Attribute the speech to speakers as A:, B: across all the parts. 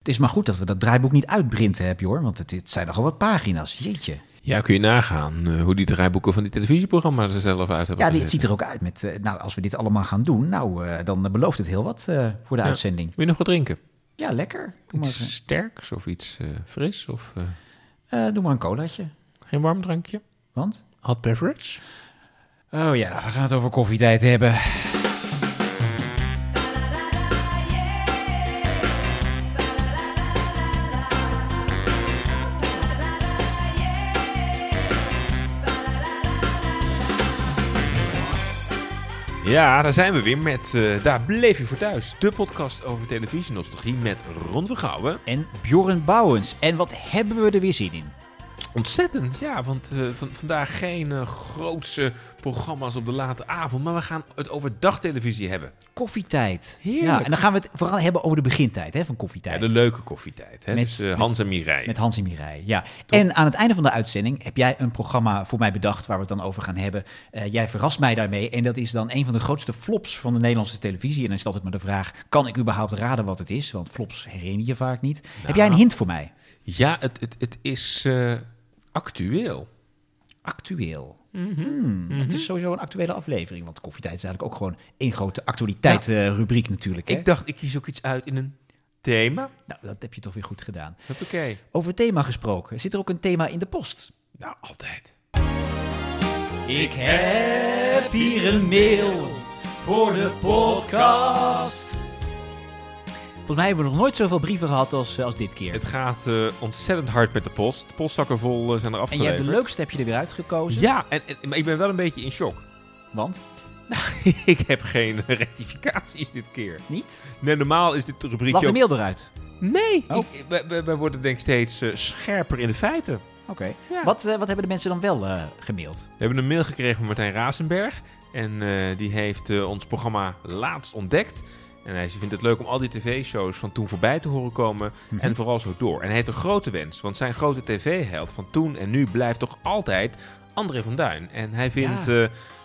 A: Het is maar goed dat we dat draaiboek niet uitprinten hebben, hoor. Want het, het zijn nogal wat pagina's, jeetje.
B: Ja, kun je nagaan eh, hoe die draaiboeken van die televisieprogramma's er zelf uit hebben
A: Ja, dit
B: gezet.
A: ziet er ook uit met... eh, nou, als we dit allemaal gaan doen, nou, eh, dan eh, belooft het heel wat eh, voor de
B: Ja.
A: uitzending.
B: Wil je nog wat drinken?
A: Ja, lekker. Doe maar,
B: Iets sterks of iets eh, fris of eh,
A: eh, eh, doe maar een colaatje.
B: geen warm drankje?
A: Want?
B: Hot beverage?
A: Oh ja, we gaan het over koffietijd hebben.
B: Ja, daar zijn we weer met eh, Daar bleef je voor thuis. De podcast over televisie nostalgie met Ron Vergouwen.
A: En Bjorn Bouwens. En wat hebben we er weer zin in?
B: Ontzettend, ja, want eh, van, vandaag geen eh, grootse programma's op de late avond, maar we gaan het over dagtelevisie hebben.
A: Koffietijd.
B: Heerlijk.
A: Ja, en dan gaan we het vooral hebben over de begintijd hè, van
B: Ja,
A: koffietijd.
B: de leuke koffietijd, hè?
A: Met-
B: dus eh, Hans en Mireille.
A: Met Hansi Mirai, ja. En aan het einde van de uitzending heb jij een programma voor mij bedacht waar we het dan over gaan hebben. Eh, jij verrast mij daarmee en dat is dan een van de grootste flops van de Nederlandse televisie. En dan is het altijd maar de vraag, kan ik überhaupt raden wat het is? Want flops herinner je vaak niet. Heb jij een hint voor mij?
B: Ja, het, het, het is eh, actueel.
A: Actueel. Hmm, Het is sowieso een actuele aflevering, want koffietijd is eigenlijk ook gewoon één grote actualiteit eh, rubriek natuurlijk. Hè?
B: Ik dacht, ik kies ook iets uit in een thema.
A: Nou, dat heb je toch weer goed gedaan.
B: Oké.
A: Over thema gesproken, zit er ook een thema in de post?
B: Nou, altijd.
A: Ik heb hier een mail voor de podcast. Volgens mij hebben we nog nooit zoveel brieven gehad als, eh, als dit keer.
B: Het gaat eh, ontzettend hard met de post. De postzakken vol eh, zijn er
A: en je
B: afgeleverd.
A: hebt de leukste heb je er weer uitgekozen.
B: Ja, en, en- maar ik ben wel een beetje in shock.
A: Want
B: ik heb geen rectificaties dit keer.
A: niet?
B: Nee, normaal is dit rubriekje
A: Lag de
B: ook-
A: mail eruit.
B: Nee,
A: Oh.
B: ik- wij, wij- wij worden denk ik steeds eh, scherper in de feiten.
A: Oké.
B: Ja.
A: Wat, eh, wat hebben de mensen dan wel eh, gemaild?
B: We hebben een mail gekregen van Martijn Razenberg. En eh, die heeft eh, ons programma laatst ontdekt. En hij vindt het leuk om al die tv-shows van toen voorbij te horen komen.
A: Mhm.
B: En vooral zo door. En hij heeft een grote wens. Want zijn grote tv-held van toen en nu blijft toch altijd André van Duin. En hij vindt eh,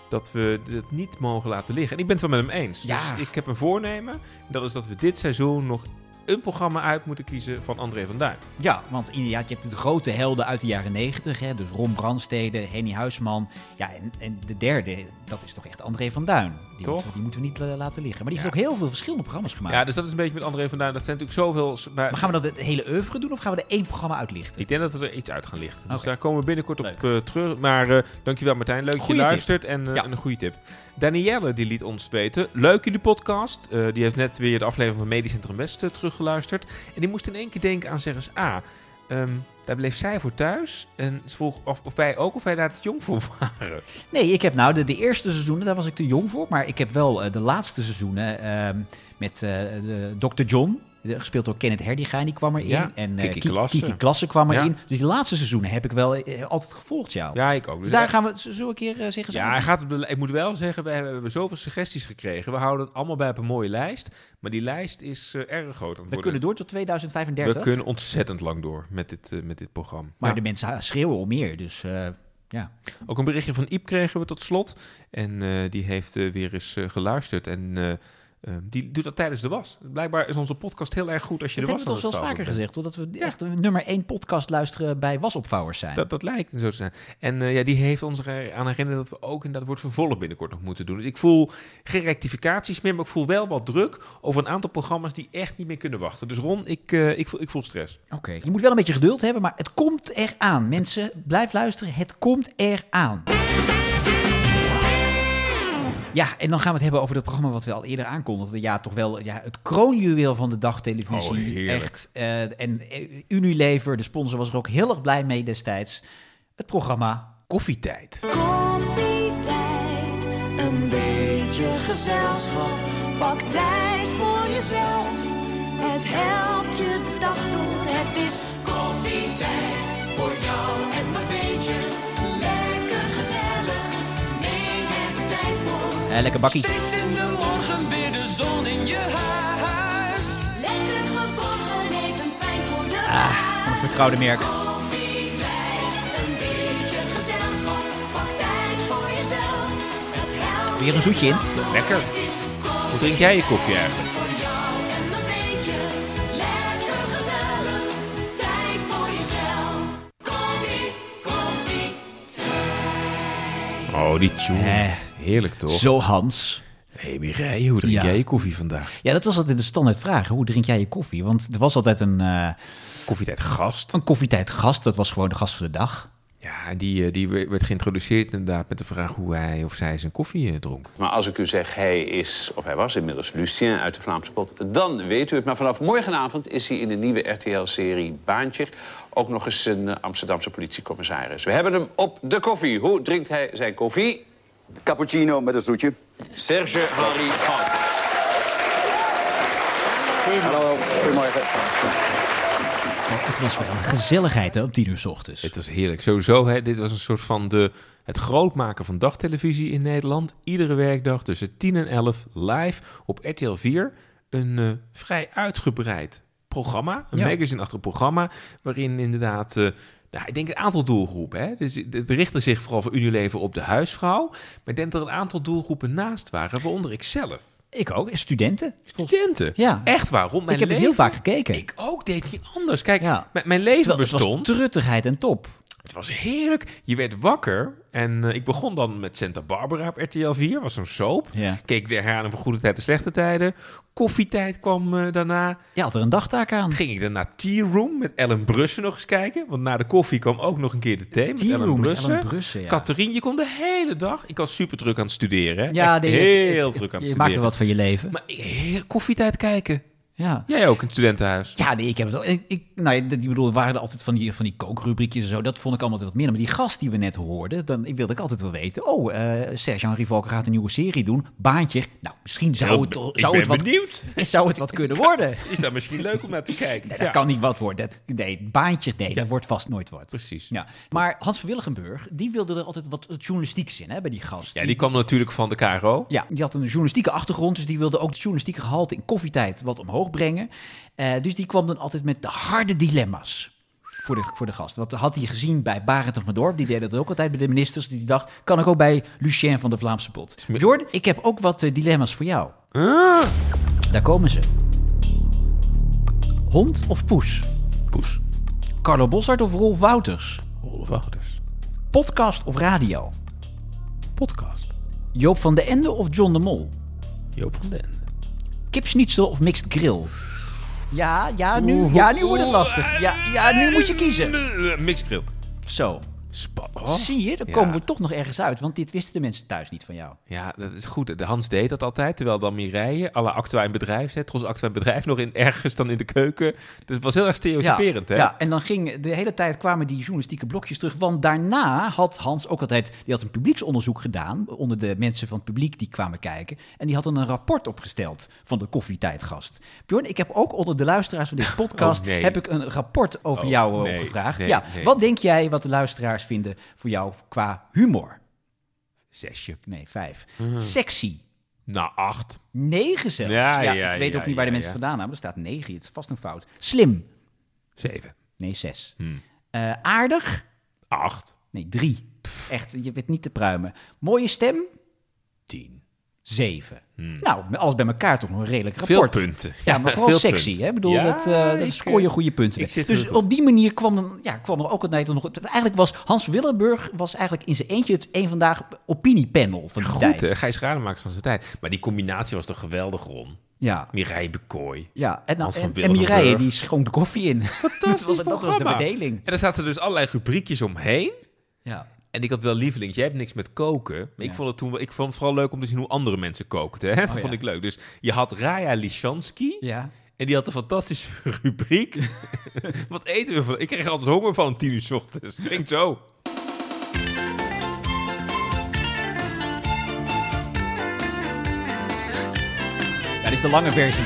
B: dat we het niet mogen laten liggen. En ik ben het wel met hem eens.
A: Ja.
B: Dus ik heb een voornemen. En dat is dat we dit seizoen nog een programma uit moeten kiezen van André van Duin.
A: Ja, want inderdaad, je hebt de grote helden uit de jaren negentig. Dus Ron Brandstede, Henny Huisman. Ja, en, en de derde, dat is toch echt André van Duin. Die,
B: Toch?
A: Moeten, we- die moeten we niet eh, laten liggen. Maar die heeft ook heel veel verschillende programma's gemaakt.
B: Ja, dus dat is een beetje met André van Duin. Dat zijn natuurlijk zoveel... maar-
A: Maar gaan we dat het hele oeuvre doen of gaan we er één programma uitlichten?
B: Ik denk dat we er iets uit gaan lichten. Dus
A: Oké.
B: daar komen we binnenkort op eh, terug. Maar eh, dankjewel Martijn, leuk dat je
A: Goeie tip.
B: luistert en, eh,
A: Ja.
B: en een goede tip. Danielle die liet ons weten, leuk jullie podcast. Eh, die heeft net weer de aflevering van Medisch Centrum West eh, teruggeluisterd. En die moest in één keer denken aan Zeggens A. Ehm, daar bleef zij voor thuis en ze vroeg of, of wij ook of wij daar te jong voor waren.
A: Nee, ik heb nou de, de eerste seizoenen, daar was ik te jong voor. Maar ik heb wel eh, de laatste seizoenen ehm, met eh, de Dr. John. eh, Gespeeld door Kenneth Herdingijn, die kwam erin.
B: Ja,
A: en eh,
B: Kiki
A: Ki-
B: Klassen.
A: Kiki Klassen kwam
B: Ja.
A: erin. Dus die laatste seizoenen heb ik wel eh, altijd gevolgd, jou.
B: Ja, ik ook.
A: Dus
B: Dus
A: daar
B: hij-
A: gaan we zo zo een keer eh, zeggen.
B: ja, hij gaat op de, li- ik moet wel zeggen, we hebben, we hebben zoveel suggesties gekregen. We houden het allemaal bij op een mooie lijst. Maar die lijst is eh, erg groot aan het
A: we
B: worden.
A: kunnen door tot 2035.
B: We kunnen ontzettend lang door met dit, eh, met dit programma.
A: Maar
B: Ja.
A: de mensen schreeuwen om meer. Dus eh, ja.
B: Ook een berichtje van Iep kregen we tot slot. En eh, die heeft eh, weer eens eh, geluisterd. En eh, eh, die doet dat tijdens de was. Blijkbaar is onze podcast heel erg goed als je
A: Dat
B: de
A: hebben
B: was
A: we toch
B: aan
A: zelfs
B: het
A: vaker
B: stapelen
A: gezegd. hoor, Dat we echt een nummer één podcast luisteren bij wasopvouwers zijn.
B: bent. Dat, dat lijkt zo te zijn. En eh, ja, die heeft ons eraan herinnerd dat we ook inderdaad wordt vervolg binnenkort nog moeten doen. Dus ik voel geen rectificaties meer, maar ik voel wel wat druk over een aantal programma's die echt niet meer kunnen wachten. Dus Ron, ik, eh, ik, voel, ik voel stress.
A: Oké, je moet wel een beetje geduld hebben, maar het komt eraan. Mensen, blijf luisteren, het komt eraan. Ja, en dan gaan we het hebben over dat programma wat we al eerder aankondigden. Ja, toch wel ja, het kroonjuweel van de dagtelevisie.
B: Oh, heerlijk.
A: Echt. eh, en eh, Unilever, de sponsor, was er ook heel erg blij mee destijds. Het programma
B: Koffietijd.
C: Koffietijd, een beetje gezelschap. Pak tijd voor jezelf. Het helpt je de dag door. Het is koffietijd voor jou en dat weet je. Lekker gezellig. Neem er tijd voor.
A: eh, Lekker Bakkie.
D: Steeds in de morgen weer de zon in je huis.
C: Lekker geborgen, even fijn voor de
A: Ons
C: ah,
A: vertrouwde merk.
C: Koffietijd, een beetje gezelschap. Pak tijd voor jezelf. Het helpt
A: Weer een zoetje in.
B: Lekker.
C: Het is
B: Hoe drink jij je koffie eigenlijk?
C: voor jou en dat weet je. Lekker gezellig.
B: Oh, die tune.
A: Hè.
B: Heerlijk toch?
A: Zo Hans.
B: hey, Mireille, hoe drink
A: Ja.
B: jij je koffie vandaag?
A: Ja, dat was altijd de standaard vraag. Hoe drink jij je koffie? Want er was altijd een, eh
B: Koffietijd gast.
A: een koffietijd gast. Dat was gewoon de gast van de dag.
B: Ja, en die, eh, die we- werd geïntroduceerd inderdaad met de vraag hoe hij of zij zijn koffie eh, dronk.
E: Maar als ik u zeg hij is, of hij was inmiddels Lucien uit de Vlaamse pot, dan weet u het. Maar vanaf morgenavond is hij in de nieuwe RTL-serie Baantje ook nog eens een eh, Amsterdamse politiecommissaris. We hebben hem op de koffie. Hoe drinkt hij zijn koffie?
F: Cappuccino met een zoetje.
E: Serge Henri van.
F: Hallo, goedemorgen.
A: Maar het was wel een gezelligheid hè, op tien uur 's ochtends.
B: Het was heerlijk. Sowieso, hè, dit was een soort van de, het grootmaken van dagtelevisie in Nederland. Iedere werkdag tussen 10 en 11 live op RTL 4. Een eh, vrij uitgebreid programma, een
A: Ja.
B: magazine-achtig programma, waarin inderdaad... eh, nou, ik denk een aantal doelgroepen. Hè? Dus het richtte zich vooral voor Unilever op de huisvrouw. Maar ik denk dat er een aantal doelgroepen naast waren, waaronder ikzelf.
A: Ik ook. En Studenten.
B: Studenten.
A: Ja.
B: Echt waar. Rond mijn
A: ik heb het
B: leven-
A: heel vaak gekeken.
B: Ik ook deed niet anders. Kijk,
A: Ja.
B: mijn- mijn leven
A: Terwijl het was
B: bestond.
A: truttigheid en top.
B: Het was heerlijk. Je werd wakker. En eh, ik begon dan met Santa Barbara op RTL 4. was zo'n soap.
A: Ja.
B: Keek de herhaling van goede tijden, slechte tijden. Koffietijd kwam eh, daarna.
A: Je had er een dagtaak aan.
B: Ging ik daarna Tea Room met Ellen Brussen nog eens kijken. Want na de koffie kwam ook nog een keer de thee met
A: Tea
B: Ellen
A: Room met
B: Brussen.
A: Ellen Brussen, ja.
B: Catherine, je kon de hele dag. Ik was super druk aan het studeren. hè.
A: Ja,
B: Echt
A: nee, het-
B: heel
A: het-
B: druk aan het
A: Je
B: studeren.
A: maakte wat van je leven.
B: Maar heel koffietijd kijken.
A: ja.
B: Jij ook in het studentenhuis.
A: Ja, nee, ik heb het ook. Ik, ik, nou, ja, dat- ik bedoel, er waren er altijd van die, van die kookrubriekjes en zo. Dat vond ik allemaal wat minder. Maar die gast die we net hoorden, dan ik wilde ik altijd wel weten. Oh, eh Serge-Henri Volker gaat een nieuwe serie doen. Baantje. Nou, misschien zou
B: Heel
A: het,
B: be-
A: toch-
B: ik
A: zou
B: ben
A: het wat,
B: benieuwd.
A: zou het wat kunnen worden. Nee,
B: Is dat misschien leuk om naar te kijken?
A: dat
B: Ja.
A: kan niet wat worden. Dat, nee, baantje, nee, dat wordt vast nooit wat.
B: Precies.
A: Ja. Maar Hans van Willigenburg, die wilde er altijd wat journalistieks in hè, bij die gast.
B: Ja, die kwam natuurlijk van de KRO.
A: Ja, die had een journalistieke achtergrond, dus die wilde ook het journalistieke gehalte in koffietijd wat omhoog brengen. Eh, dus die kwam dan altijd met de harde dilemma's voor de, voor de gast. Wat had hij gezien bij Barend van Dorp, die deed dat ook altijd bij de ministers, die dacht, kan ik ook bij Lucien van de Vlaamse Pot. Jordan, ik heb ook wat eh, dilemma's voor jou.
B: Ah!
A: Daar komen ze. Hond of poes?
B: Poes.
A: Carlo Bossart of Rolf Wouters?
B: Rolf Wouters.
A: Podcast of radio?
B: Podcast.
A: Joop van de Ende of John de Mol?
B: Joop van den.
A: Kipsnitzel of mixed grill? Ja, ja, nu, ja, nu wordt het lastig. Ja, ja, nu moet je kiezen.
B: Mixgrill.
A: Zo,
B: Spannend.
A: zie je, dan
B: Ja.
A: komen we toch nog ergens uit. Want dit wisten de mensen thuis niet van jou.
B: Ja, dat is goed. De Hans deed dat altijd. Terwijl dan Mireille, alle actua in bedrijf, hè, trots actua in bedrijf, nog in, ergens dan in de keuken. Dus het was heel erg stereotyperend, hè?
A: ja, en dan ging de hele tijd kwamen die journalistieke blokjes terug. Want daarna had Hans ook altijd, die had een publieksonderzoek gedaan onder de mensen van het publiek die kwamen kijken. En die had dan een rapport opgesteld van de koffietijdgast. Bjorn, ik heb ook onder de luisteraars van dit podcast
B: Oh, nee.
A: heb ik een rapport over
B: Oh,
A: jou eh,
B: nee,
A: opgevraagd.
B: nee,
A: ja,
B: nee.
A: wat denk jij wat de luisteraars vinden voor jou qua humor?
B: Zesje.
A: Nee, vijf.
B: Hm.
A: Sexy.
B: Nou, acht.
A: Negen zelfs.
B: Ja,
A: Ja,
B: ja,
A: ik weet
B: ja,
A: ook niet waar de
B: ja,
A: mensen
B: ja.
A: vandaan hebben. Er staat negen. Het is vast een fout. Slim.
B: Zeven.
A: Nee, zes.
B: Hmm.
A: Eh, aardig.
B: Acht.
A: Nee, drie. Echt, je bent niet te pruimen. Mooie stem.
B: Tien.
A: Zeven. Nou, met alles bij elkaar toch nog een redelijk
B: Hmm. Veel
A: rapport.
B: punten.
A: Ja, maar vooral
B: veel
A: sexy.
B: punten.
A: Hè? Ik bedoel,
B: Ja,
A: dat, eh,
B: ik,
A: dat scoor je
B: eh,
A: goede punten.
B: ik
A: mee.
B: zit
A: Dus
B: heel goed.
A: op die manier kwam, dan, ja, kwam er ook altijd nog... Eigenlijk was Hans Willenburg was eigenlijk in zijn eentje het een vandaag opiniepanel van die
B: Goed,
A: tijd.
B: hè? Gijs Rademaker van zijn tijd. Maar die combinatie was toch geweldig, Ron?
A: Ja.
B: Mireille Bekooi.
A: Ja, en, nou,
B: Hans van
A: en, en
B: Wilgenburg.
A: Mireille die schonk de koffie in. dat was, dat was de
B: programma.
A: verdeling.
B: En er zaten dus allerlei rubriekjes omheen.
A: Ja.
B: En ik had wel lievelings. Jij hebt niks met koken. Maar ik,
A: Ja. Oh,
B: vond het toen, wel- ik vond het vooral leuk om te zien hoe andere mensen kookten. Hè? Dat
A: ja.
B: vond ik leuk. Dus je had Raya Lishansky.
A: ja.
B: En die had een fantastische rubriek. Wat eten we van? Ik kreeg er altijd honger van om tien uur 's ochtends. Ging zo.
A: dit is de lange versie.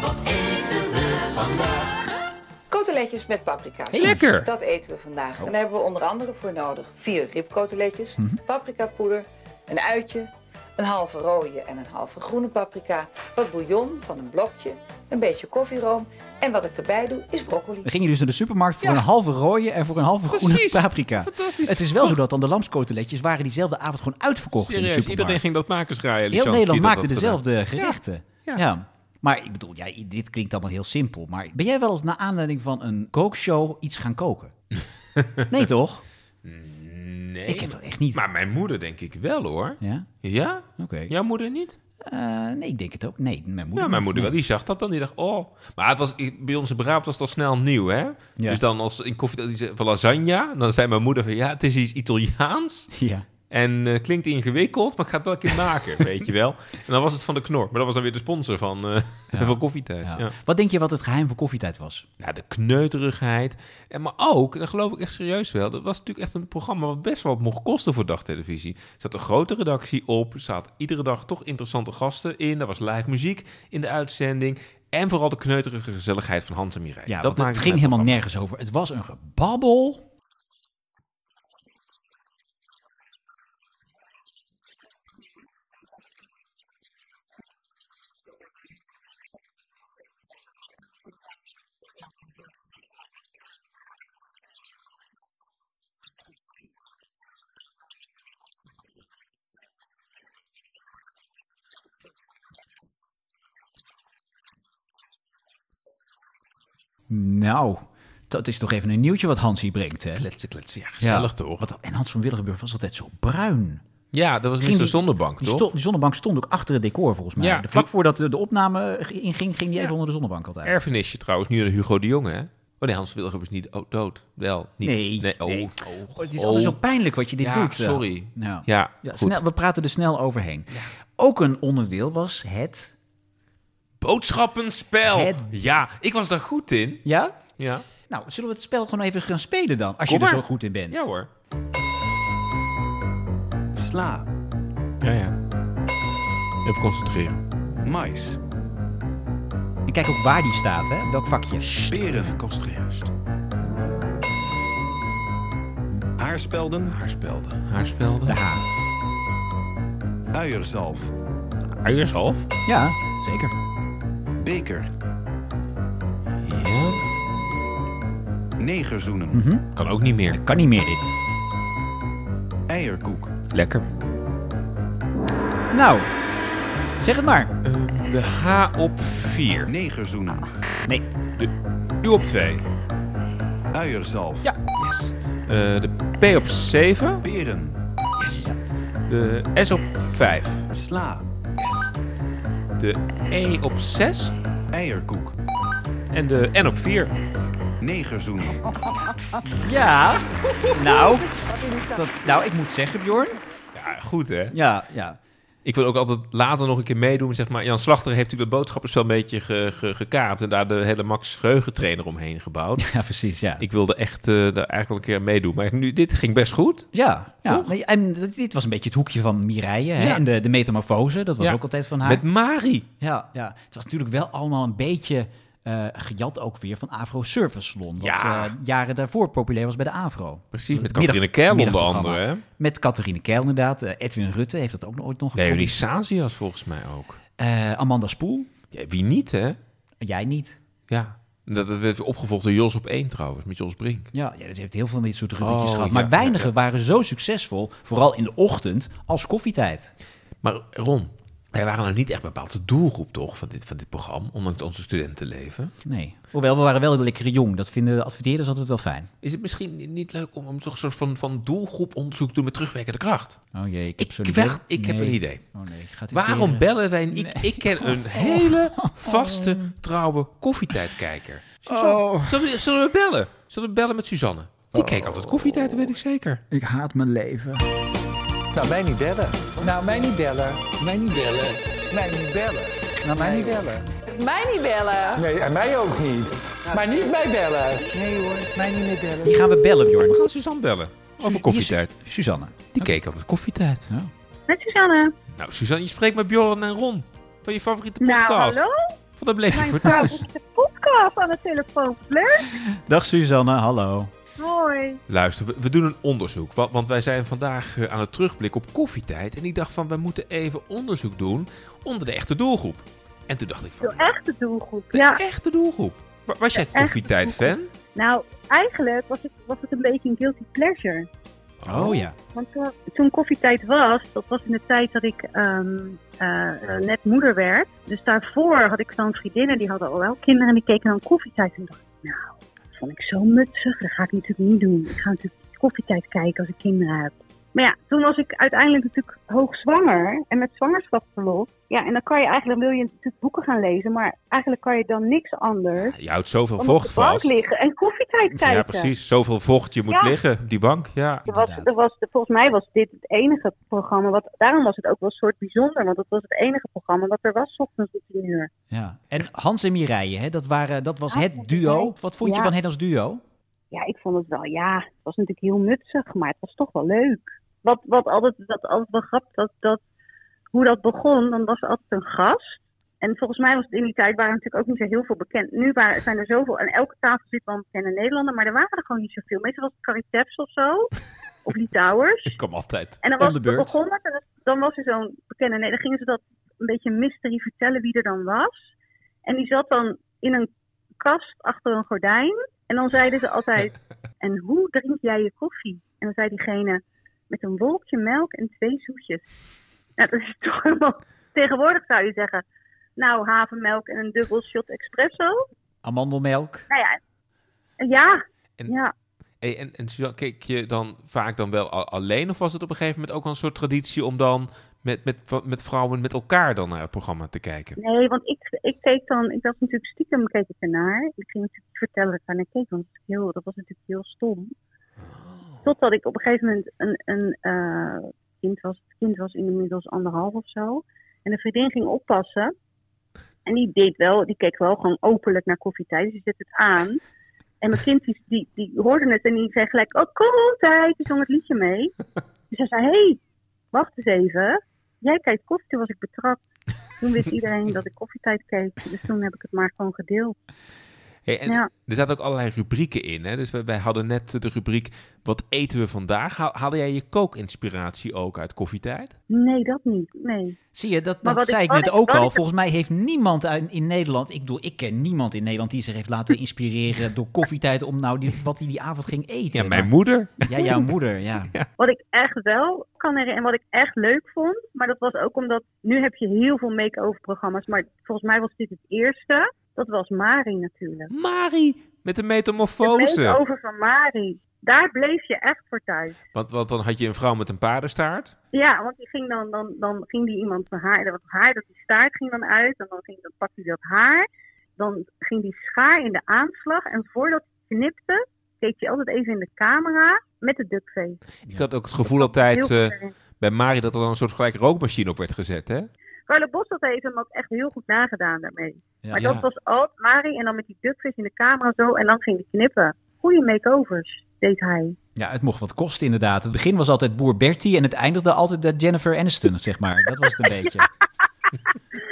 C: Wat eten we vandaag?
G: Koteletjes met paprika.
B: Lekker.
G: Dat eten we vandaag. En daar hebben we onder andere voor nodig vier ribkoteletjes, paprikapoeder, een uitje, een halve rode en een halve groene paprika, wat bouillon van een blokje, een beetje koffieroom en wat ik erbij doe is broccoli.
A: Dan ging je dus naar de supermarkt voor een halve rode en voor een halve groene
B: Precies.
A: paprika.
B: Fantastisch.
A: Het is wel zo dat dan de lamskoteletjes waren diezelfde avond gewoon uitverkocht in de
B: Serieus,
A: supermarkt.
B: iedereen ging dat maken, is Raya
A: Heel
B: Lishansky.
A: Nederland
B: dat
A: maakte
B: had gedaan.
A: dezelfde gerechten. Ja.
B: Ja.
A: Maar ik bedoel, ja, dit klinkt allemaal heel simpel. Maar ben jij wel eens naar aanleiding van een kookshow iets gaan koken? nee, toch?
B: Nee.
A: Ik heb dat echt niet.
B: Maar mijn moeder denk ik wel hoor.
A: Ja?
B: Ja?
A: Oké.
B: Jouw moeder niet?
A: Eh, nee, ik denk het ook. Nee, mijn moeder
B: Ja, mijn
A: niet.
B: moeder wel. Die zag dat dan. Die dacht, oh. Maar het was, ik- bij onze braad was dat snel nieuw, hè? Dus dan als in koffie die zei van lasagna, dan zei mijn moeder van, ja, het is iets Italiaans.
A: Ja.
B: En eh, klinkt ingewikkeld, maar ik ga het wel een keer maken, weet je wel. En dan was het van de knor. Maar dat was dan weer de sponsor van, eh van koffietijd.
A: Ja.
B: Ja.
A: Wat denk je wat het geheim van koffietijd was?
B: Ja, de kneuterigheid. En, maar ook, en dat geloof ik echt serieus wel, dat was natuurlijk echt een programma wat best wat mocht kosten voor dagtelevisie. Er zat een grote redactie op, er zaten iedere dag toch interessante gasten in. Er was live muziek in de uitzending. En vooral de kneuterige gezelligheid van Hans en Mireille.
A: Ja, dat want
B: maakte
A: het ging
B: mijn
A: helemaal
B: programma.
A: nergens over. Het was een gebabbel. Nou, dat is toch even een nieuwtje wat Hans hier brengt, hè?
B: Kletsen, kletsen. Ja, gezellig toch?
A: Wat, en Hans van Willigenburg was altijd zo bruin.
B: Ja, dat was
A: Ging
B: Mr.
A: die-
B: Zonnebank,
A: Die,
B: toch?
A: sto- die zonnebank stond ook achter het decor, volgens mij.
B: Ja.
A: De vlak voordat de, de opname inging, ging die even onder de zonnebank altijd.
B: Erfenisje trouwens, nu naar Hugo de Jonge, hè? Oh nee, Hans Wilhelm is niet oh, dood. Wel, niet.
A: Nee,
B: oh,
A: nee.
B: oh,
A: Oh, het is
B: oh.
A: altijd zo pijnlijk wat je dit
B: Ja,
A: doet. eh.
B: sorry.
A: Nou.
B: Ja,
A: Ja,
B: goed.
A: snel, we praten er snel overheen. Ook een onderdeel was het...
B: Boodschappenspel.
A: Het-
B: Ja, ik was daar goed in.
A: Ja?
B: Ja,
A: Nou, zullen we het spel gewoon even gaan spelen dan? Als je
B: Kom
A: er
B: maar.
A: zo goed in bent.
B: ja hoor.
E: Sla,
B: Ja, ja. Even concentreren.
E: mais,
A: En kijk ook waar die staat, hè? Welk vakje.
E: peren,
B: Concentreren.
E: haarspelden,
B: Haarspelden. Haarspelden.
A: De H.
E: uierzalf,
B: Uiershalf.
A: Ja, zeker.
E: beker,
B: Ja.
E: negerzoenen,
B: Kan ook niet meer.
A: Kan niet meer dit.
E: eierkoek,
B: Lekker.
A: Nou, zeg het maar.
B: De H op 4.
E: negerzoenen,
A: Nee.
B: U op 2.
E: uierzalf,
A: Ja.
B: Yes. Eh, de P op 7.
E: peren,
B: De S op 5.
E: sla,
B: Yes. De E op 6.
E: eierkoek,
B: En de N op 4.
E: negerzoenen,
A: Ja. Nou. Dat, nou, ik moet zeggen, Bjorn.
B: Ja, goed hè.
A: Ja, ja.
B: Ik wil ook altijd later nog een keer meedoen. Zeg maar, Jan Slachter heeft natuurlijk dat boodschappenspel een beetje ge, ge- gekaapt. En daar de hele Max Geheugentrainer omheen gebouwd.
A: Ja, precies, ja.
B: Ik wilde echt eh, daar eigenlijk wel een keer aan meedoen. Maar nu, dit ging best goed.
A: ja, ja. Maar- En dit- dit was een beetje het hoekje van Mireille. Hè?
B: Ja.
A: En de, de metamorfose, dat was
B: Ja.
A: ook altijd van haar.
B: Met Mari.
A: Ja, ja, het was natuurlijk wel allemaal een beetje eh, gejat ook weer van Afro Service Salon. Wat
B: Ja.
A: eh, jaren daarvoor populair was bij de Afro.
B: Precies, met
A: Middag-
B: Catharine Keil onder
A: middagprogramma.
B: andere. Hè?
A: Met Catharine Keil inderdaad. Eh, Edwin Rutte heeft dat ook nooit nog
B: Leonie
A: geprobeerd.
B: Sazias volgens mij ook.
A: Eh, Amanda Spoel,
B: Ja, wie niet hè?
A: jij niet.
B: Ja. Dat, dat werd opgevolgd door Jos op één trouwens, met Jos Brink.
A: Ja, ja dat heeft heel veel van dit soort rubriekjes
B: Oh,
A: gehad.
B: ja,
A: maar
B: ja,
A: weinigen waren zo succesvol, vooral in de ochtend, als koffietijd.
B: Maar Ron, wij waren nou niet echt bepaald de doelgroep toch van dit, van dit programma. Ondanks onze studentenleven.
A: Nee. Hoewel, we waren wel de lekkere jong. Dat vinden de adverteerders altijd wel fijn.
B: Is het misschien niet leuk om, om toch een soort van, van doelgroeponderzoek te doen met terugwerkende kracht?
A: Oh jee, ik heb
B: Ik,
A: zo'n
B: ik,
A: idee.
B: wacht, ik heb
A: Nee.
B: een idee.
A: Oh nee, gaat dit
B: Waarom
A: weer-
B: bellen wij niet? Ik ken een hele vaste, trouwe koffietijdkijker. Suzanne, zullen, we, zullen we bellen? Zullen we bellen met Suzanne? Die keek altijd koffietijd, dat weet ik zeker.
A: Ik haat mijn leven.
H: Nou, mij niet bellen. Nou, mij niet bellen. Mij niet bellen. Mij niet bellen. Nou, mij niet bellen.
I: Mij niet bellen.
H: Nee, en mij ook niet. Maar niet mij bellen. Nee hoor, mij niet meer bellen.
A: Die gaan we bellen, Bjorn.
B: We gaan Suzanne bellen. Over koffietijd.
A: Hier is Su- Suzanne.
B: Die keek altijd koffietijd.
A: Ja.
J: Met Suzanne.
B: Nou, Suzanne, je spreekt met Bjorn en Ron. Van je favoriete
J: Nou,
B: podcast.
J: hallo.
B: Van dat bleef je
J: Mijn
B: voor thuis.
J: favoriete podcast aan de telefoon. Leuk.
A: Dag Suzanne, hallo.
J: Mooi.
B: Luister, we, we doen een onderzoek. wa- Want wij zijn vandaag eh, aan het terugblikken op koffietijd. En ik dacht van, we moeten even onderzoek doen onder de echte doelgroep. En toen dacht ik van,
J: De echte doelgroep.
B: de
J: Ja.
B: echte doelgroep. Wa- Was jij
J: echte
B: koffietijd-fan?
J: Nou, eigenlijk was het, was het een beetje een guilty pleasure.
A: Oh, ja.
J: Want toen, toen koffietijd was, dat was in de tijd dat ik ehm, eh, eh, net moeder werd. Dus daarvoor had ik zo'n vriendinnen, die hadden al wel kinderen en die keken dan koffietijd. En dacht ik, nou, dat vond ik zo mutsig. Dat ga ik natuurlijk niet doen. Ik ga natuurlijk niet koffietijd kijken als ik kinderen heb. Maar ja, toen was ik uiteindelijk natuurlijk hoogzwanger en met zwangerschapsverlof. Ja, en dan kan je eigenlijk, wil je natuurlijk boeken gaan lezen, maar eigenlijk kan je dan niks anders
B: Je houdt zoveel
J: dan op
B: vocht
J: de bank
B: vast.
J: liggen en koffietijd kijken.
B: Ja, precies. Zoveel vocht je moet
J: Ja.
B: liggen op die bank. Ja.
J: Er was, er was, volgens mij was dit het enige programma. Wat, daarom was het ook wel een soort bijzonder. Want het was het enige programma dat er was, 's ochtends om 10 uur.
A: Ja. En Hans en Mireille, hè, dat, waren, dat was
J: Ah, Ja,
A: het duo. Wat vond je
J: Ja.
A: van hen als duo?
J: Ja, ik vond het wel, ja, het was natuurlijk heel nutsig, maar het was toch wel leuk. Wat, wat altijd, dat altijd wel grappig, dat, dat, hoe dat begon, dan was er altijd een gast. En volgens mij was het in die tijd waren er natuurlijk ook niet zo heel veel bekend. Nu waren, zijn er zoveel, aan elke tafel zit wel een bekende Nederlander, maar er waren er gewoon niet zoveel. Meestal was het Caritabs of zo, of Litouwers.
B: Ik kom altijd.
J: En dan
A: Om
J: was
A: de
J: het
A: beurt.
J: begonnen en dan was er zo'n bekende. Nee, dan gingen ze dat een beetje mystery vertellen wie er dan was. En die zat dan in een kast achter een gordijn. En dan zeiden ze altijd: En hoe drink jij je koffie? En dan zei diegene: Met een wolkje melk en twee zoetjes. Nou, dat is toch helemaal. Tegenwoordig zou je zeggen: Nou, havenmelk en een dubbel shot espresso.
A: Amandelmelk.
J: Nou ja, ja.
B: En-
J: ja.
B: Hey, en, en Suzanne, keek je dan vaak dan wel al- alleen? Of was het op een gegeven moment ook wel een soort traditie om dan met, met, met vrouwen met elkaar dan naar het programma te kijken?
J: Nee, want ik, ik keek dan, ik was natuurlijk stiekem keek ik ernaar. Ik ging natuurlijk vertellen dat ik naar keek, want dat was heel, dat was natuurlijk heel stom. Totdat ik op een gegeven moment een, een eh, kind was, het kind was inmiddels anderhalf of zo. En de vriendin ging oppassen. En die deed wel, die keek wel gewoon openlijk naar koffietijd. Dus die zette het aan. En mijn kind die, die, die hoorde het en die zei gelijk, oh koffietijd, die zong het liedje mee. Dus hij zei, hé, hey, wacht eens even. Jij kijkt koffie, toen was ik betrapt. Toen wist iedereen dat ik koffietijd keek. Dus toen heb ik het maar gewoon gedeeld.
B: Hey, en
J: Ja.
B: Er zaten ook allerlei rubrieken in. Hè? Dus wij, wij hadden net de rubriek Wat eten we vandaag? Haal- Haalde jij je kookinspiratie ook uit koffietijd?
J: Nee, dat niet. Nee.
A: Zie je, dat,
J: Maar
A: dat
J: wat
A: zei ik
J: ik-
A: net
J: wat ik-
A: ook
J: wat
A: al.
J: ik-
A: Volgens mij heeft niemand uit- in Nederland... Ik bedoel, ik ken niemand in Nederland die zich heeft laten inspireren... door koffietijd om nou die, wat hij die avond ging eten.
B: Ja, mijn
A: Maar-
B: moeder.
A: Ja, jouw moeder, ja.
J: Wat ik echt wel kan herinneren en wat ik echt leuk vond. Maar dat was ook omdat nu heb je heel veel make-over programma's. Maar volgens mij was dit het eerste. Dat was Mari natuurlijk.
B: Mari met de metamorfose.
J: De make-over van Mari. Daar bleef je echt voor thuis.
B: Want, want dan had je een vrouw met een paardenstaart.
J: Ja, want die ging dan, dan, dan ging die iemand zijn haar, dat haar, dat die staart ging dan uit. En dan, ging, dan pakte hij dat haar. Dan ging die schaar in de aanslag. En voordat hij knipte, keek je altijd even in de camera met de duckface.
B: Ik had ook het gevoel altijd
J: Heel
B: eh,
J: goed.
B: bij Mari dat er dan een soort gelijk rookmachine op werd gezet. Hè?
J: Carlo Bos dat heeft hem ook echt heel goed nagedaan daarmee. maar
B: ja.
J: dat was altijd Mari en dan met die duckfish in de camera zo en dan ging hij knippen. Goeie makeovers deed hij.
A: Ja, het mocht wat kosten inderdaad. Het begin was altijd boer Bertie en het eindigde altijd eh, Jennifer Aniston, zeg maar. Dat was het een beetje.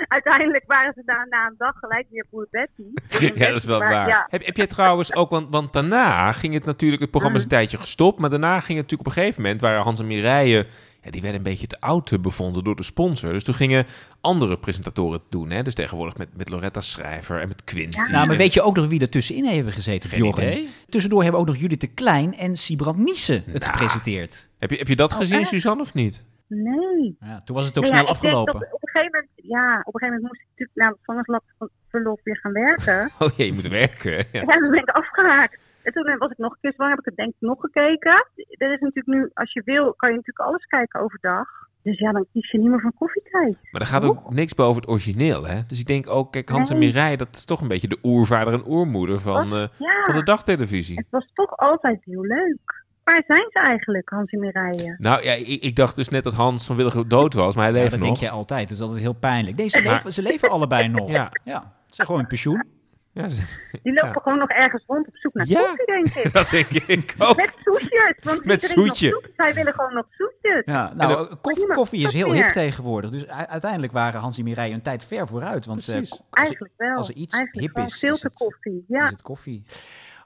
J: Uiteindelijk waren ze daar na een dag gelijk weer boer Betty.
B: Ja, dat is wel
J: Maar
B: waar.
J: Ja,
B: Heb, heb jij trouwens ook, want, want daarna ging het natuurlijk, het programma is
A: Mm.
B: een tijdje gestopt, maar daarna ging het natuurlijk op een gegeven moment, waren Hans en Mireille, ja, die werden een beetje te oud eh, bevonden door de sponsor. Dus toen gingen andere presentatoren het doen, hè? dus tegenwoordig met, met Loretta Schrijver en met Quinty.
A: Nou, maar
B: En-
A: weet je ook nog wie er tussenin hebben gezeten,
B: Geen
A: Bjorn?
B: idee. Nou.
A: Tussendoor hebben ook nog Judith de Klein en Sibrand Nissen het gepresenteerd.
B: heb, je, heb je dat
A: Oh,
B: gezien,
J: echt?
B: Suzanne, of niet?
J: nee.
A: Ja, toen was het ook
J: Nou ja,
A: snel
J: ik denk
A: afgelopen.
J: dat Op een, gegeven moment, ja, op een gegeven moment moest ik natuurlijk na het zwangerschapsverlof weer gaan werken.
B: Oh jee, je moet werken. Ja.
J: Ja, toen ben ik afgehaakt. En toen was ik nog een keer zwanger, heb ik het denk ik nog gekeken. Er is natuurlijk nu, als je wil, kan je natuurlijk alles kijken overdag. Dus ja, dan kies je niet meer van koffietijd.
B: Maar er gaat ook niks boven het origineel, hè? Dus ik denk ook, kijk, Hans en
J: Nee.
B: Mireille, dat is toch een beetje de oervader en oermoeder van,
A: Oh,
B: eh,
J: Ja.
B: van de dagtelevisie.
J: Het was toch altijd heel leuk. Waar zijn ze eigenlijk, Hans en Mireille?
B: Nou ja, ik, ik dacht dus net dat Hans van Willigen dood was, maar hij
A: Ja,
B: leeft
A: dat
B: nog.
A: denk je altijd. Dat is altijd heel pijnlijk. Nee, ze,
B: Maar-
A: leven, ze leven allebei nog.
B: Ja.
A: Ja. Ze zijn gewoon in pensioen.
B: Ja, ze-
J: Die lopen
B: Ja.
J: gewoon nog ergens rond op zoek naar
B: Ja.
J: koffie, denk ik.
B: dat denk ik ook.
J: Met soetjes, want
B: Met
J: iedereen nog
B: zoetje.
J: soetjes. Zij willen gewoon nog soetjes.
A: Ja, nou,
B: eh,
A: koffie,
J: niemand
A: koffie is
J: doet dat
A: heel hip
J: meer.
A: tegenwoordig. Dus u- uiteindelijk waren Hans en Mireille een tijd ver vooruit. Want eh,
B: Precies.
A: ko- als-
J: Eigenlijk wel.
A: Als er iets
J: Eigenlijk
A: hip
J: wel.
A: is, is het,
J: Filterkoffie, ja.
A: is het koffie.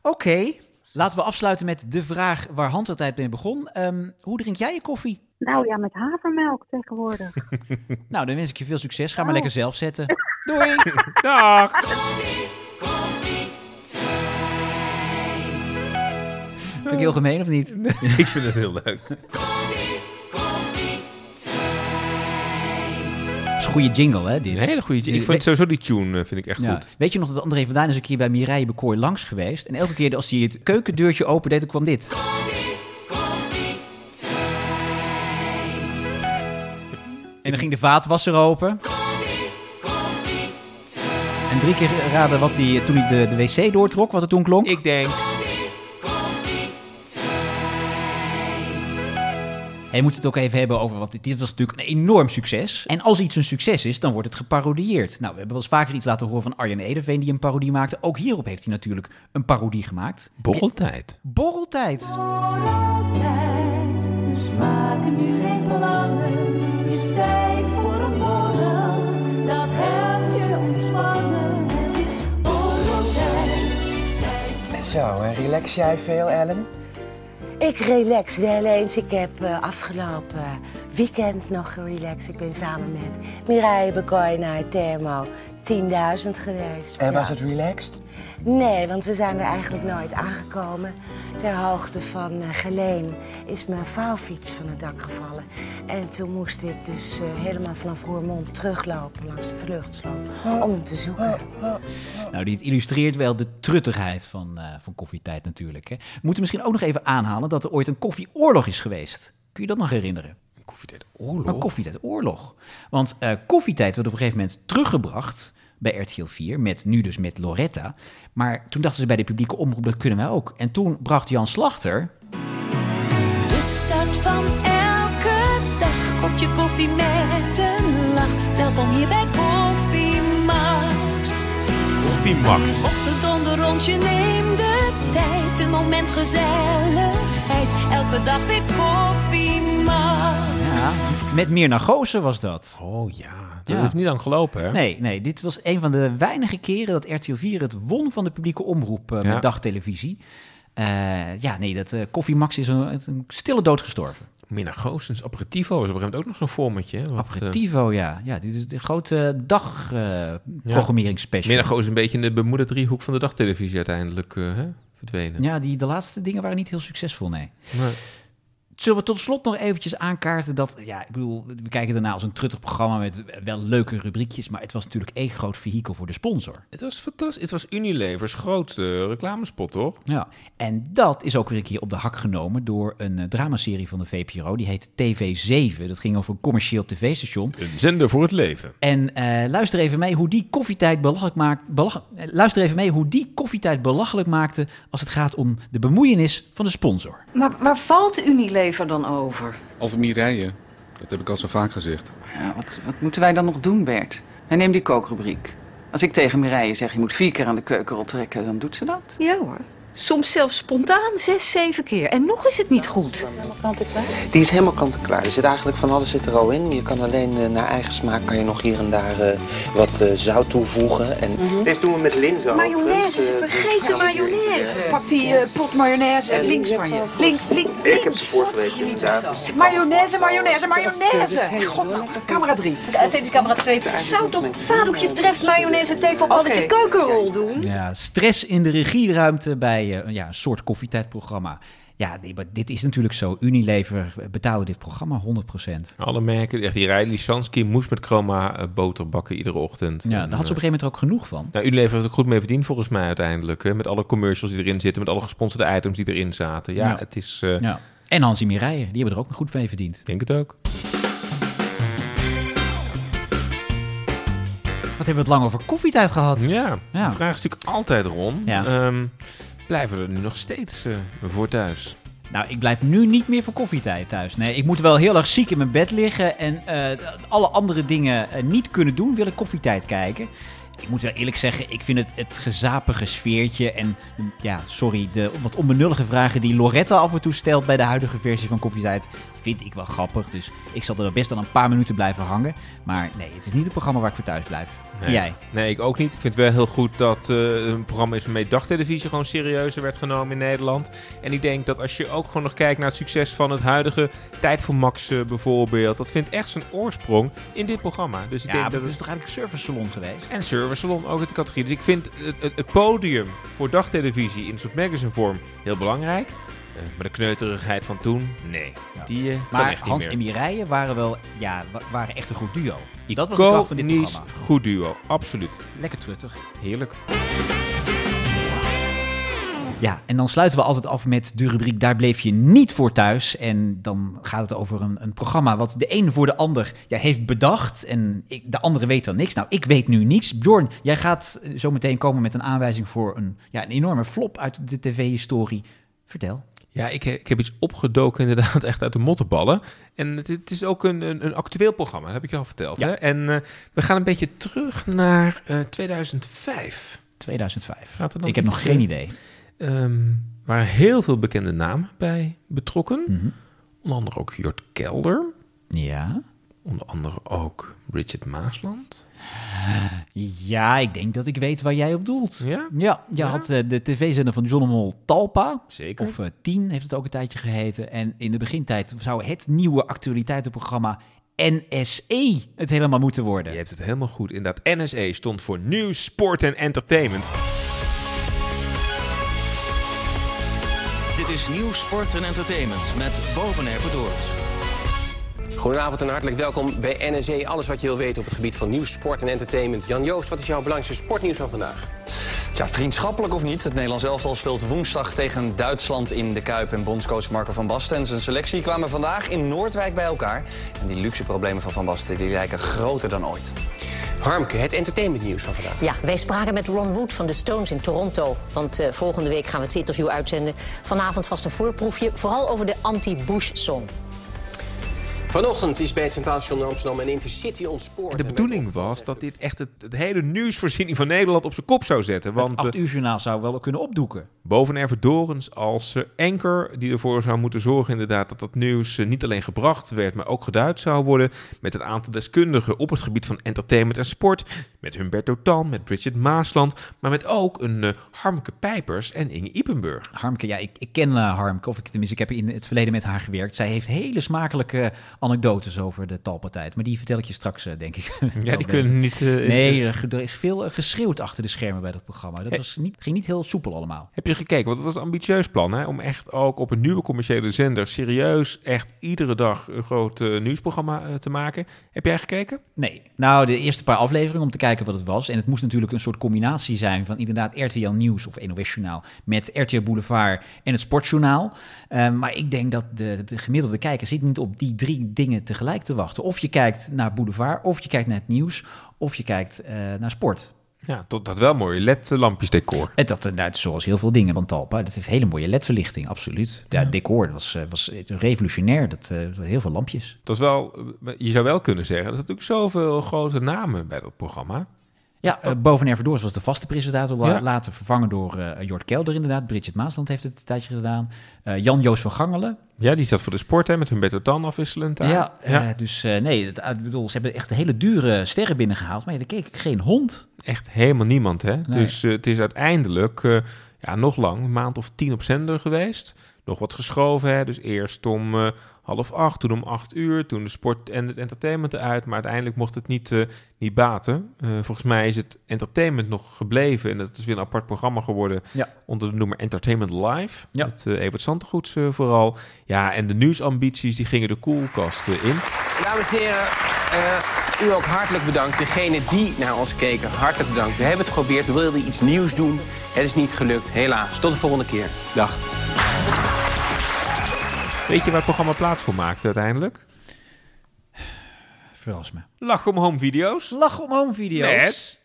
A: Oké, laten we afsluiten met de vraag waar Hans altijd mee begon. Ehm, hoe drink jij je koffie?
J: Nou ja, met havermelk tegenwoordig.
A: Nou, dan wens ik je veel succes. Ga
J: Oh.
A: maar lekker zelf zetten. Doei!
B: Dag!
A: Vind ik heel gemeen of niet?
B: ik vind het heel leuk.
A: Dat is een goede jingle, hè, dit?
B: Een hele goede tune. Ik
A: Die-
B: vind sowieso die tune eh, vind ik echt
A: Ja.
B: goed.
A: Weet je nog dat André vandaan is een keer bij Mireille Bekooi langs geweest? En elke keer als hij het keukendeurtje opendeed, dan kwam dit. En dan ging de vaatwasser open. En drie keer raden wat hij, eh, toen hij de, de wc doortrok, wat het toen klonk.
B: Ik denk,
A: Hij moet het ook even hebben over, want dit was natuurlijk een enorm succes. En als iets een succes is, dan wordt het geparodieerd. Nou, we hebben wel eens vaker iets laten horen van Arjen Edeveen die een parodie maakte. Ook hierop heeft hij natuurlijk een parodie gemaakt.
B: borreltijd.
A: Borreltijd.
C: Dus maken nu geen plannen. Het is tijd voor een borrel. Dat helpt je ontspannen. Het is borreltijd.
H: Zo, en relax jij veel, Ellen?
I: Ik relax wel eens. Ik heb eh, afgelopen weekend nog gerelaxed. Ik ben samen met Mireille Bekooi naar het Thermo 10.000 geweest.
H: En was
I: Ja.
H: het relaxed?
I: Nee, want we zijn er eigenlijk nooit aangekomen. Ter hoogte van eh, Geleen is mijn vouwfiets van het dak gevallen. En toen moest ik dus eh, helemaal vanaf Roermond teruglopen langs de vluchtsloop om hem te zoeken.
A: Nou, dit illustreert wel de truttigheid van, eh, van koffietijd natuurlijk. Hè. We moeten misschien ook nog even aanhalen dat er ooit een koffieoorlog is geweest. Kun je dat nog herinneren?
B: Koffietijd
A: Maar
B: oorlog.
A: koffietijd oorlog. Want eh, koffietijd werd op een gegeven moment teruggebracht bij RTL 4, met, nu dus met Loretta. Maar toen dachten ze bij de publieke omroep, dat kunnen wij ook. En toen bracht Jan Slachter...
C: De start van elke dag. Kopje koffie met een lach. Welkom hier bij Koffie Max.
B: Koffiemax.
C: Op de donderrondje neem de tijd. Een moment gezelligheid. Elke dag weer Koffie Max.
A: Met Mirna Goossen was dat.
B: Oh ja, dat
A: Ja.
B: heeft niet lang gelopen, hè?
A: Nee, nee, dit was een van de weinige keren dat RTL 4 het won van de publieke omroep eh,
B: Ja.
A: met dagtelevisie. Eh, ja, nee, dat eh Koffie Max is een, een stille dood gestorven.
B: Minna Goossens, Aperitivo is op een gegeven moment ook nog zo'n formatje. hè, wat, eh,
A: Aperitivo, ja. Ja, dit is de grote eh,
B: Ja.
A: dagprogrammeringsspecial.
B: Minna Goossens is een beetje in de bemoede driehoek van de dagtelevisie uiteindelijk eh, hè, verdwenen.
A: ja, die, de laatste dingen waren niet heel succesvol, nee.
B: Maar-
A: Zullen we tot slot nog eventjes aankaarten dat... Ja, ik bedoel, we kijken daarna als een truttig programma met wel leuke rubriekjes... maar het was natuurlijk één groot vehikel voor de sponsor.
B: Het was fantastisch. Het was Unilever's grootste reclamespot, toch?
A: Ja. En dat is ook weer een keer op de hak genomen door een eh, dramaserie van de VPRO. Die heet TV7. Dat ging over een commercieel tv-station.
B: Een zender voor het leven.
A: En eh, luister even mee hoe die koffietijd belachelijk maakt. belach- eh, luister even mee hoe die koffietijd belachelijk maakte als het gaat om de bemoeienis van de sponsor.
K: Maar waar valt Unilever dan over?
L: Over Mireille, dat heb ik al zo vaak gezegd.
K: Ja, wat, wat moeten wij dan nog doen, Bert? Hij neemt die kookrubriek. Als ik tegen Mireille zeg, je moet vier keer aan de keukenrol trekken, dan doet ze dat.
M: Ja hoor. Soms zelfs spontaan zes, zeven keer. En nog is het niet goed.
N: Die is helemaal kant-en-klaar. Er zit eigenlijk van alles zit er al in. Je kan alleen eh, naar eigen smaak kan je nog hier en daar eh, wat eh, zout toevoegen. En... Deze doen we met linzen. dus, eh,
M: Mayonaise, ze vergeten mayonaise.
K: Pak die eh, pot mayonaise links van je. Links, links, links.
N: Ik heb ze vorige week in tafels.
K: Mayonaise, mayonaise, mayonaise. God, camera drie.
M: Het is camera 2. Zou toch vadoekje treft mayonaise thee voor alle de keukenrol doen?
A: Ja, stress in de regieruimte bij eh, een- ja, een soort koffietijdprogramma. Ja, nee, maar dit is natuurlijk zo. Unilever eh, betaalde dit programma 100%.
B: Alle merken. Echt, die Riley Sansky moest met chroma eh, boter bakken iedere ochtend.
A: Ja, daar had ze
B: En,
A: op een
B: eh,
A: gegeven moment er ook genoeg van.
B: Nou, Unilever heeft er goed mee verdiend volgens mij uiteindelijk. Hè? Met alle commercials die erin zitten, met alle gesponsorde items die erin zaten. Ja,
A: Ja.
B: het is... eh,
A: Ja. En Hansi Mireille, die hebben er ook nog goed mee verdiend.
B: Ik denk het ook.
A: Wat hebben we het lang over koffietijd gehad?
B: Ja,
A: Ja.
B: de vraag is natuurlijk altijd, Ron.
A: Ja.
B: Ehm, blijven we er nu nog steeds eh, voor thuis?
A: Nou, ik blijf nu niet meer voor koffietijd thuis. Nee, ik moet wel heel erg ziek in mijn bed liggen en eh, alle andere dingen eh, niet kunnen doen, wil ik koffietijd kijken. Ik moet wel eerlijk zeggen, ik vind het het gezapige sfeertje en, mm, ja, sorry, de wat onbenullige vragen die Loretta af en toe stelt bij de huidige versie van koffietijd, vind ik wel grappig. Dus ik zal er wel best al een paar minuten blijven hangen. Maar nee, het is niet het programma waar ik voor thuis blijf.
B: Nee.
A: Jij?
B: Nee, ik ook niet. Ik vind het wel heel goed dat eh een programma is waarmee dagtelevisie gewoon serieuzer werd genomen in Nederland. En ik denk dat als je ook gewoon nog kijkt naar het succes van het huidige Tijd voor Max eh, bijvoorbeeld. Dat vindt echt zijn oorsprong in dit programma. Dus ik
A: Ja,
B: denk
A: maar
B: dat
A: het
B: het
A: is toch eigenlijk een service salon geweest?
B: En Service Salon, ook uit de categorie. Dus ik vind het, het, het podium voor dagtelevisie in een soort magazinevorm heel belangrijk. Eh, maar de kneuterigheid van toen, nee. Die eh kan
A: Maar
B: echt
A: Hans
B: niet
A: en
B: meer.
A: Mireille waren wel, ja, wa- waren echt een goed duo. Dat was de kracht van dit
B: Iconisch
A: programma.
B: goed duo, absoluut.
A: Lekker truttig.
B: Heerlijk.
A: Ja, en dan sluiten we altijd af met de rubriek Daar bleef je niet voor thuis. En dan gaat het over een, een programma wat de een voor de ander ja, heeft bedacht. En ik, de andere weet dan niks. Nou, ik weet nu niks. Bjorn, jij gaat eh, zo meteen komen met een aanwijzing voor een, ja, een enorme flop uit de tv-historie. Vertel.
B: Ja, ik, he- ik heb iets opgedoken inderdaad echt uit de mottenballen. En het, het is ook een, een, een actueel programma, dat heb ik je al verteld. Hè? En eh, we gaan een beetje terug naar eh, 2005.
A: 2005.
B: Gaat er dan
A: Ik heb
B: iets,
A: nog geen
B: eh,
A: idee.
B: ehm, waren heel veel bekende namen bij betrokken. Onder andere ook Jort Kelder.
A: Ja.
B: Onder andere ook Bridget Maasland.
A: Ja, ik denk dat ik weet waar jij op doelt.
B: Ja?
A: Ja, jij had eh, de tv-zender van John Mol Talpa.
B: Zeker.
A: Of eh, 10 heeft het ook een tijdje geheten. En in de begintijd zou het nieuwe actualiteitenprogramma NSE het helemaal moeten worden.
B: Je hebt het helemaal goed. Inderdaad, NSE stond voor Nieuws, Sport en Entertainment.
D: Dit is Nieuw Sport en Entertainment met Bovenair Verdoord.
O: Goedenavond en hartelijk welkom bij NSE. Alles wat je wil weten op het gebied van nieuws, sport en entertainment. Jan Joost, wat is jouw belangrijkste sportnieuws van vandaag?
D: Ja, vriendschappelijk of niet, het Nederlands elftal speelt woensdag tegen Duitsland in de Kuip. En bondscoach Marco van Basten en zijn selectie kwamen vandaag in Noordwijk bij elkaar. En die luxe problemen van Van Basten die lijken groter dan ooit.
O: Harmke, het entertainmentnieuws van vandaag.
P: Ja, wij spraken met Ron Wood van de Stones in Toronto. Want eh, volgende week gaan we het interview uitzenden. Vanavond vast een voorproefje, vooral over de anti-Bush-song.
O: Vanochtend is bij het Centraal Station in Amsterdam een intercity ontspoord.
B: De bedoeling was dat dit echt het, het hele nieuwsvoorziening van Nederland op zijn kop zou zetten. Want eh,
A: Het 8 uur journaal zou wel kunnen opdoeken.
B: Boven Erwin Dorens als enker die ervoor zou moeten zorgen inderdaad dat dat nieuws eh, niet alleen gebracht werd, maar ook geduid zou worden met een aantal deskundigen op het gebied van entertainment en sport. Met Humberto Tan, met Bridget Maasland, maar met ook een eh, Harmke Pijpers en Inge Ipenburg.
A: Harmke, ja, ik, ik ken eh, Harmke, of ik, tenminste, ik heb in het verleden met haar gewerkt. Zij heeft hele smakelijke anekdotes over de talpartij. Maar die vertel ik je straks, eh, denk ik.
B: Ja, die kunnen niet, eh, in-
A: nee, er, er is veel eh, geschreeuwd achter de schermen bij dat programma. Dat
B: Hey.
A: was niet, ging niet heel soepel allemaal.
B: Heb je gekeken? Want dat was een ambitieus plan. Hè? Om echt ook op een nieuwe commerciële zender serieus echt iedere dag een groot eh, nieuwsprogramma eh, te maken. Heb jij gekeken?
A: Nee. Nou, de eerste paar afleveringen om te kijken wat het was. En het moest natuurlijk een soort combinatie zijn van inderdaad RTL Nieuws of NOS Journaal met RTL Boulevard en het Sportjournaal. Eh, maar ik denk dat de, de gemiddelde kijker zit niet op die drie dingen tegelijk te wachten. Of je kijkt naar Boulevard, of je kijkt naar het nieuws, of je kijkt eh, naar sport.
B: Ja, tot dat wel mooie LED-lampjesdecor.
A: En dat, eh, nou, zoals heel veel dingen van Talpa, dat heeft hele mooie ledverlichting, absoluut. Ja, het decor dat was, eh, was revolutionair, dat, eh, heel veel lampjes.
B: Dat is wel, eh, je zou wel kunnen zeggen, er zijn natuurlijk zoveel grote namen bij dat programma.
A: Ja, eh boven Erverdoors was de vaste presentator, la-
B: Ja.
A: later vervangen door eh Jort Kelder inderdaad. Bridget Maasland heeft het een tijdje gedaan. Eh, Jan-Joos van Gangelen.
B: Ja, die zat voor de sport hè, met Humberto Tan afwisselend. daar.
A: Ja, eh, dus eh, nee, het, ik bedoel, ze hebben echt hele dure sterren binnengehaald, maar ja, daar keek geen hond.
B: Echt helemaal niemand hè.
A: Nee.
B: Dus eh, het is uiteindelijk eh, ja, nog lang, een maand of tien op zender geweest. Nog wat geschoven hè, dus eerst om eh, half acht, toen om acht uur, toen de sport en het entertainment eruit. Maar uiteindelijk mocht het niet, eh, niet baten. Eh, volgens mij is het entertainment nog gebleven en dat is weer een apart programma geworden
A: Ja.
B: onder de noemer Entertainment Live.
A: Ja.
B: Met eh, Evert Zantegoeds eh, vooral. Ja, en de nieuwsambities die gingen de koelkast eh, in.
O: Dames en heren, eh, u ook hartelijk bedankt. Degene die naar ons keken, hartelijk bedankt. We hebben het geprobeerd, we wilden iets nieuws doen. Het is niet gelukt, helaas. Tot de volgende keer. Dag.
B: Weet je waar het programma plaats voor maakte uiteindelijk?
A: Verras me.
B: Lach om home video's.
A: Lach om home video's.
B: Met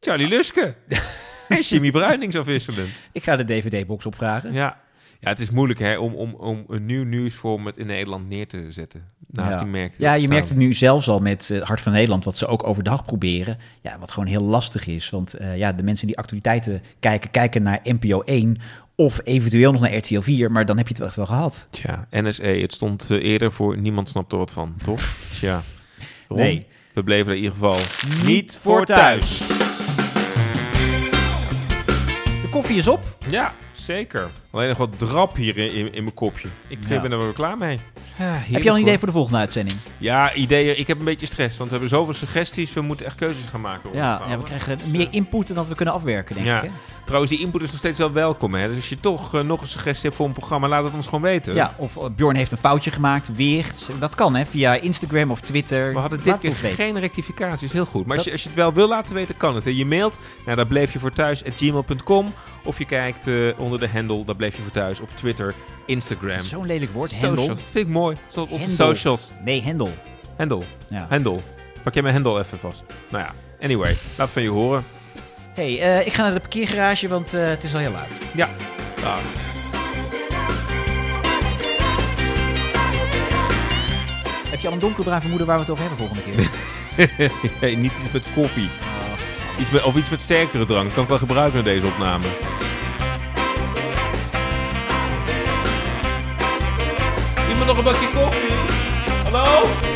B: Charlie Luske. en Jimmy Bruinings afwisselend.
A: Ik ga de DVD-box opvragen.
B: Ja. ja, het is moeilijk hè, om, om, om een nieuw nieuwsvorm het in Nederland neer te zetten. Naast
A: ja.
B: die merk.
A: ja, je merkt het nu zelfs al met eh, Hart van Nederland, wat ze ook overdag proberen. Ja, wat gewoon heel lastig is. Want eh, ja, de mensen die actualiteiten kijken, kijken naar NPO 1 of eventueel nog naar RTL 4, maar dan heb je het wel echt wel gehad.
B: Tja, NSE, het stond eh, eerder voor niemand snapt er wat van, toch? Tja. Ron,
A: Nee.
B: We bleven er in ieder geval niet,
A: Niet
B: voor
A: voor
B: thuis.
A: De koffie is op.
B: Ja, zeker. Alleen nog wat drap hier in, in, in mijn kopje. Ik
A: Ja.
B: ben er wel klaar mee.
A: heb je al een idee
B: hoor.
A: voor de volgende uitzending?
B: Ja, ideeën. Ik heb een beetje stress, want we hebben zoveel suggesties. We moeten echt keuzes gaan maken.
A: Ja, ja, we krijgen meer input dan dat we kunnen afwerken, denk
B: Ja.
A: ik. Hè?
B: Trouwens, die input is nog steeds wel welkom. Hè? Dus als je toch eh, nog een suggestie hebt voor een programma, laat het ons gewoon weten.
A: Ja, of eh, Bjorn heeft een foutje gemaakt, weer. Dat kan, hè? Via Instagram of Twitter.
B: We hadden dit
A: Laat
B: keer
A: het weten.
B: geen rectificaties, heel goed. Maar als je, als je het wel wil laten weten, kan het. Hè? Je mailt naar dat bleef je voor thuis gmail.com. Of je kijkt eh, onder de handle, dat bleef je voor thuis op Twitter, Instagram.
A: Zo'n lelijk woord,
B: Socials.
A: handle.
B: Vind ik mooi. Zo op de
A: Handle.
B: socials.
A: Nee, handle.
B: Handle.
A: Ja.
B: Handle. Pak jij mijn handle even vast. Nou ja, anyway, laat van je horen.
A: hey, eh, ik ga naar de parkeergarage, want eh, het is al heel laat.
B: Ja. Dag.
A: Heb je al een donkerbrave moeder waar we het over hebben volgende keer?
B: nee, niet iets met koffie. Iets met, of iets met sterkere drank. Kan ik wel gebruiken in deze opname. Iemand nog een bakje koffie? Hallo?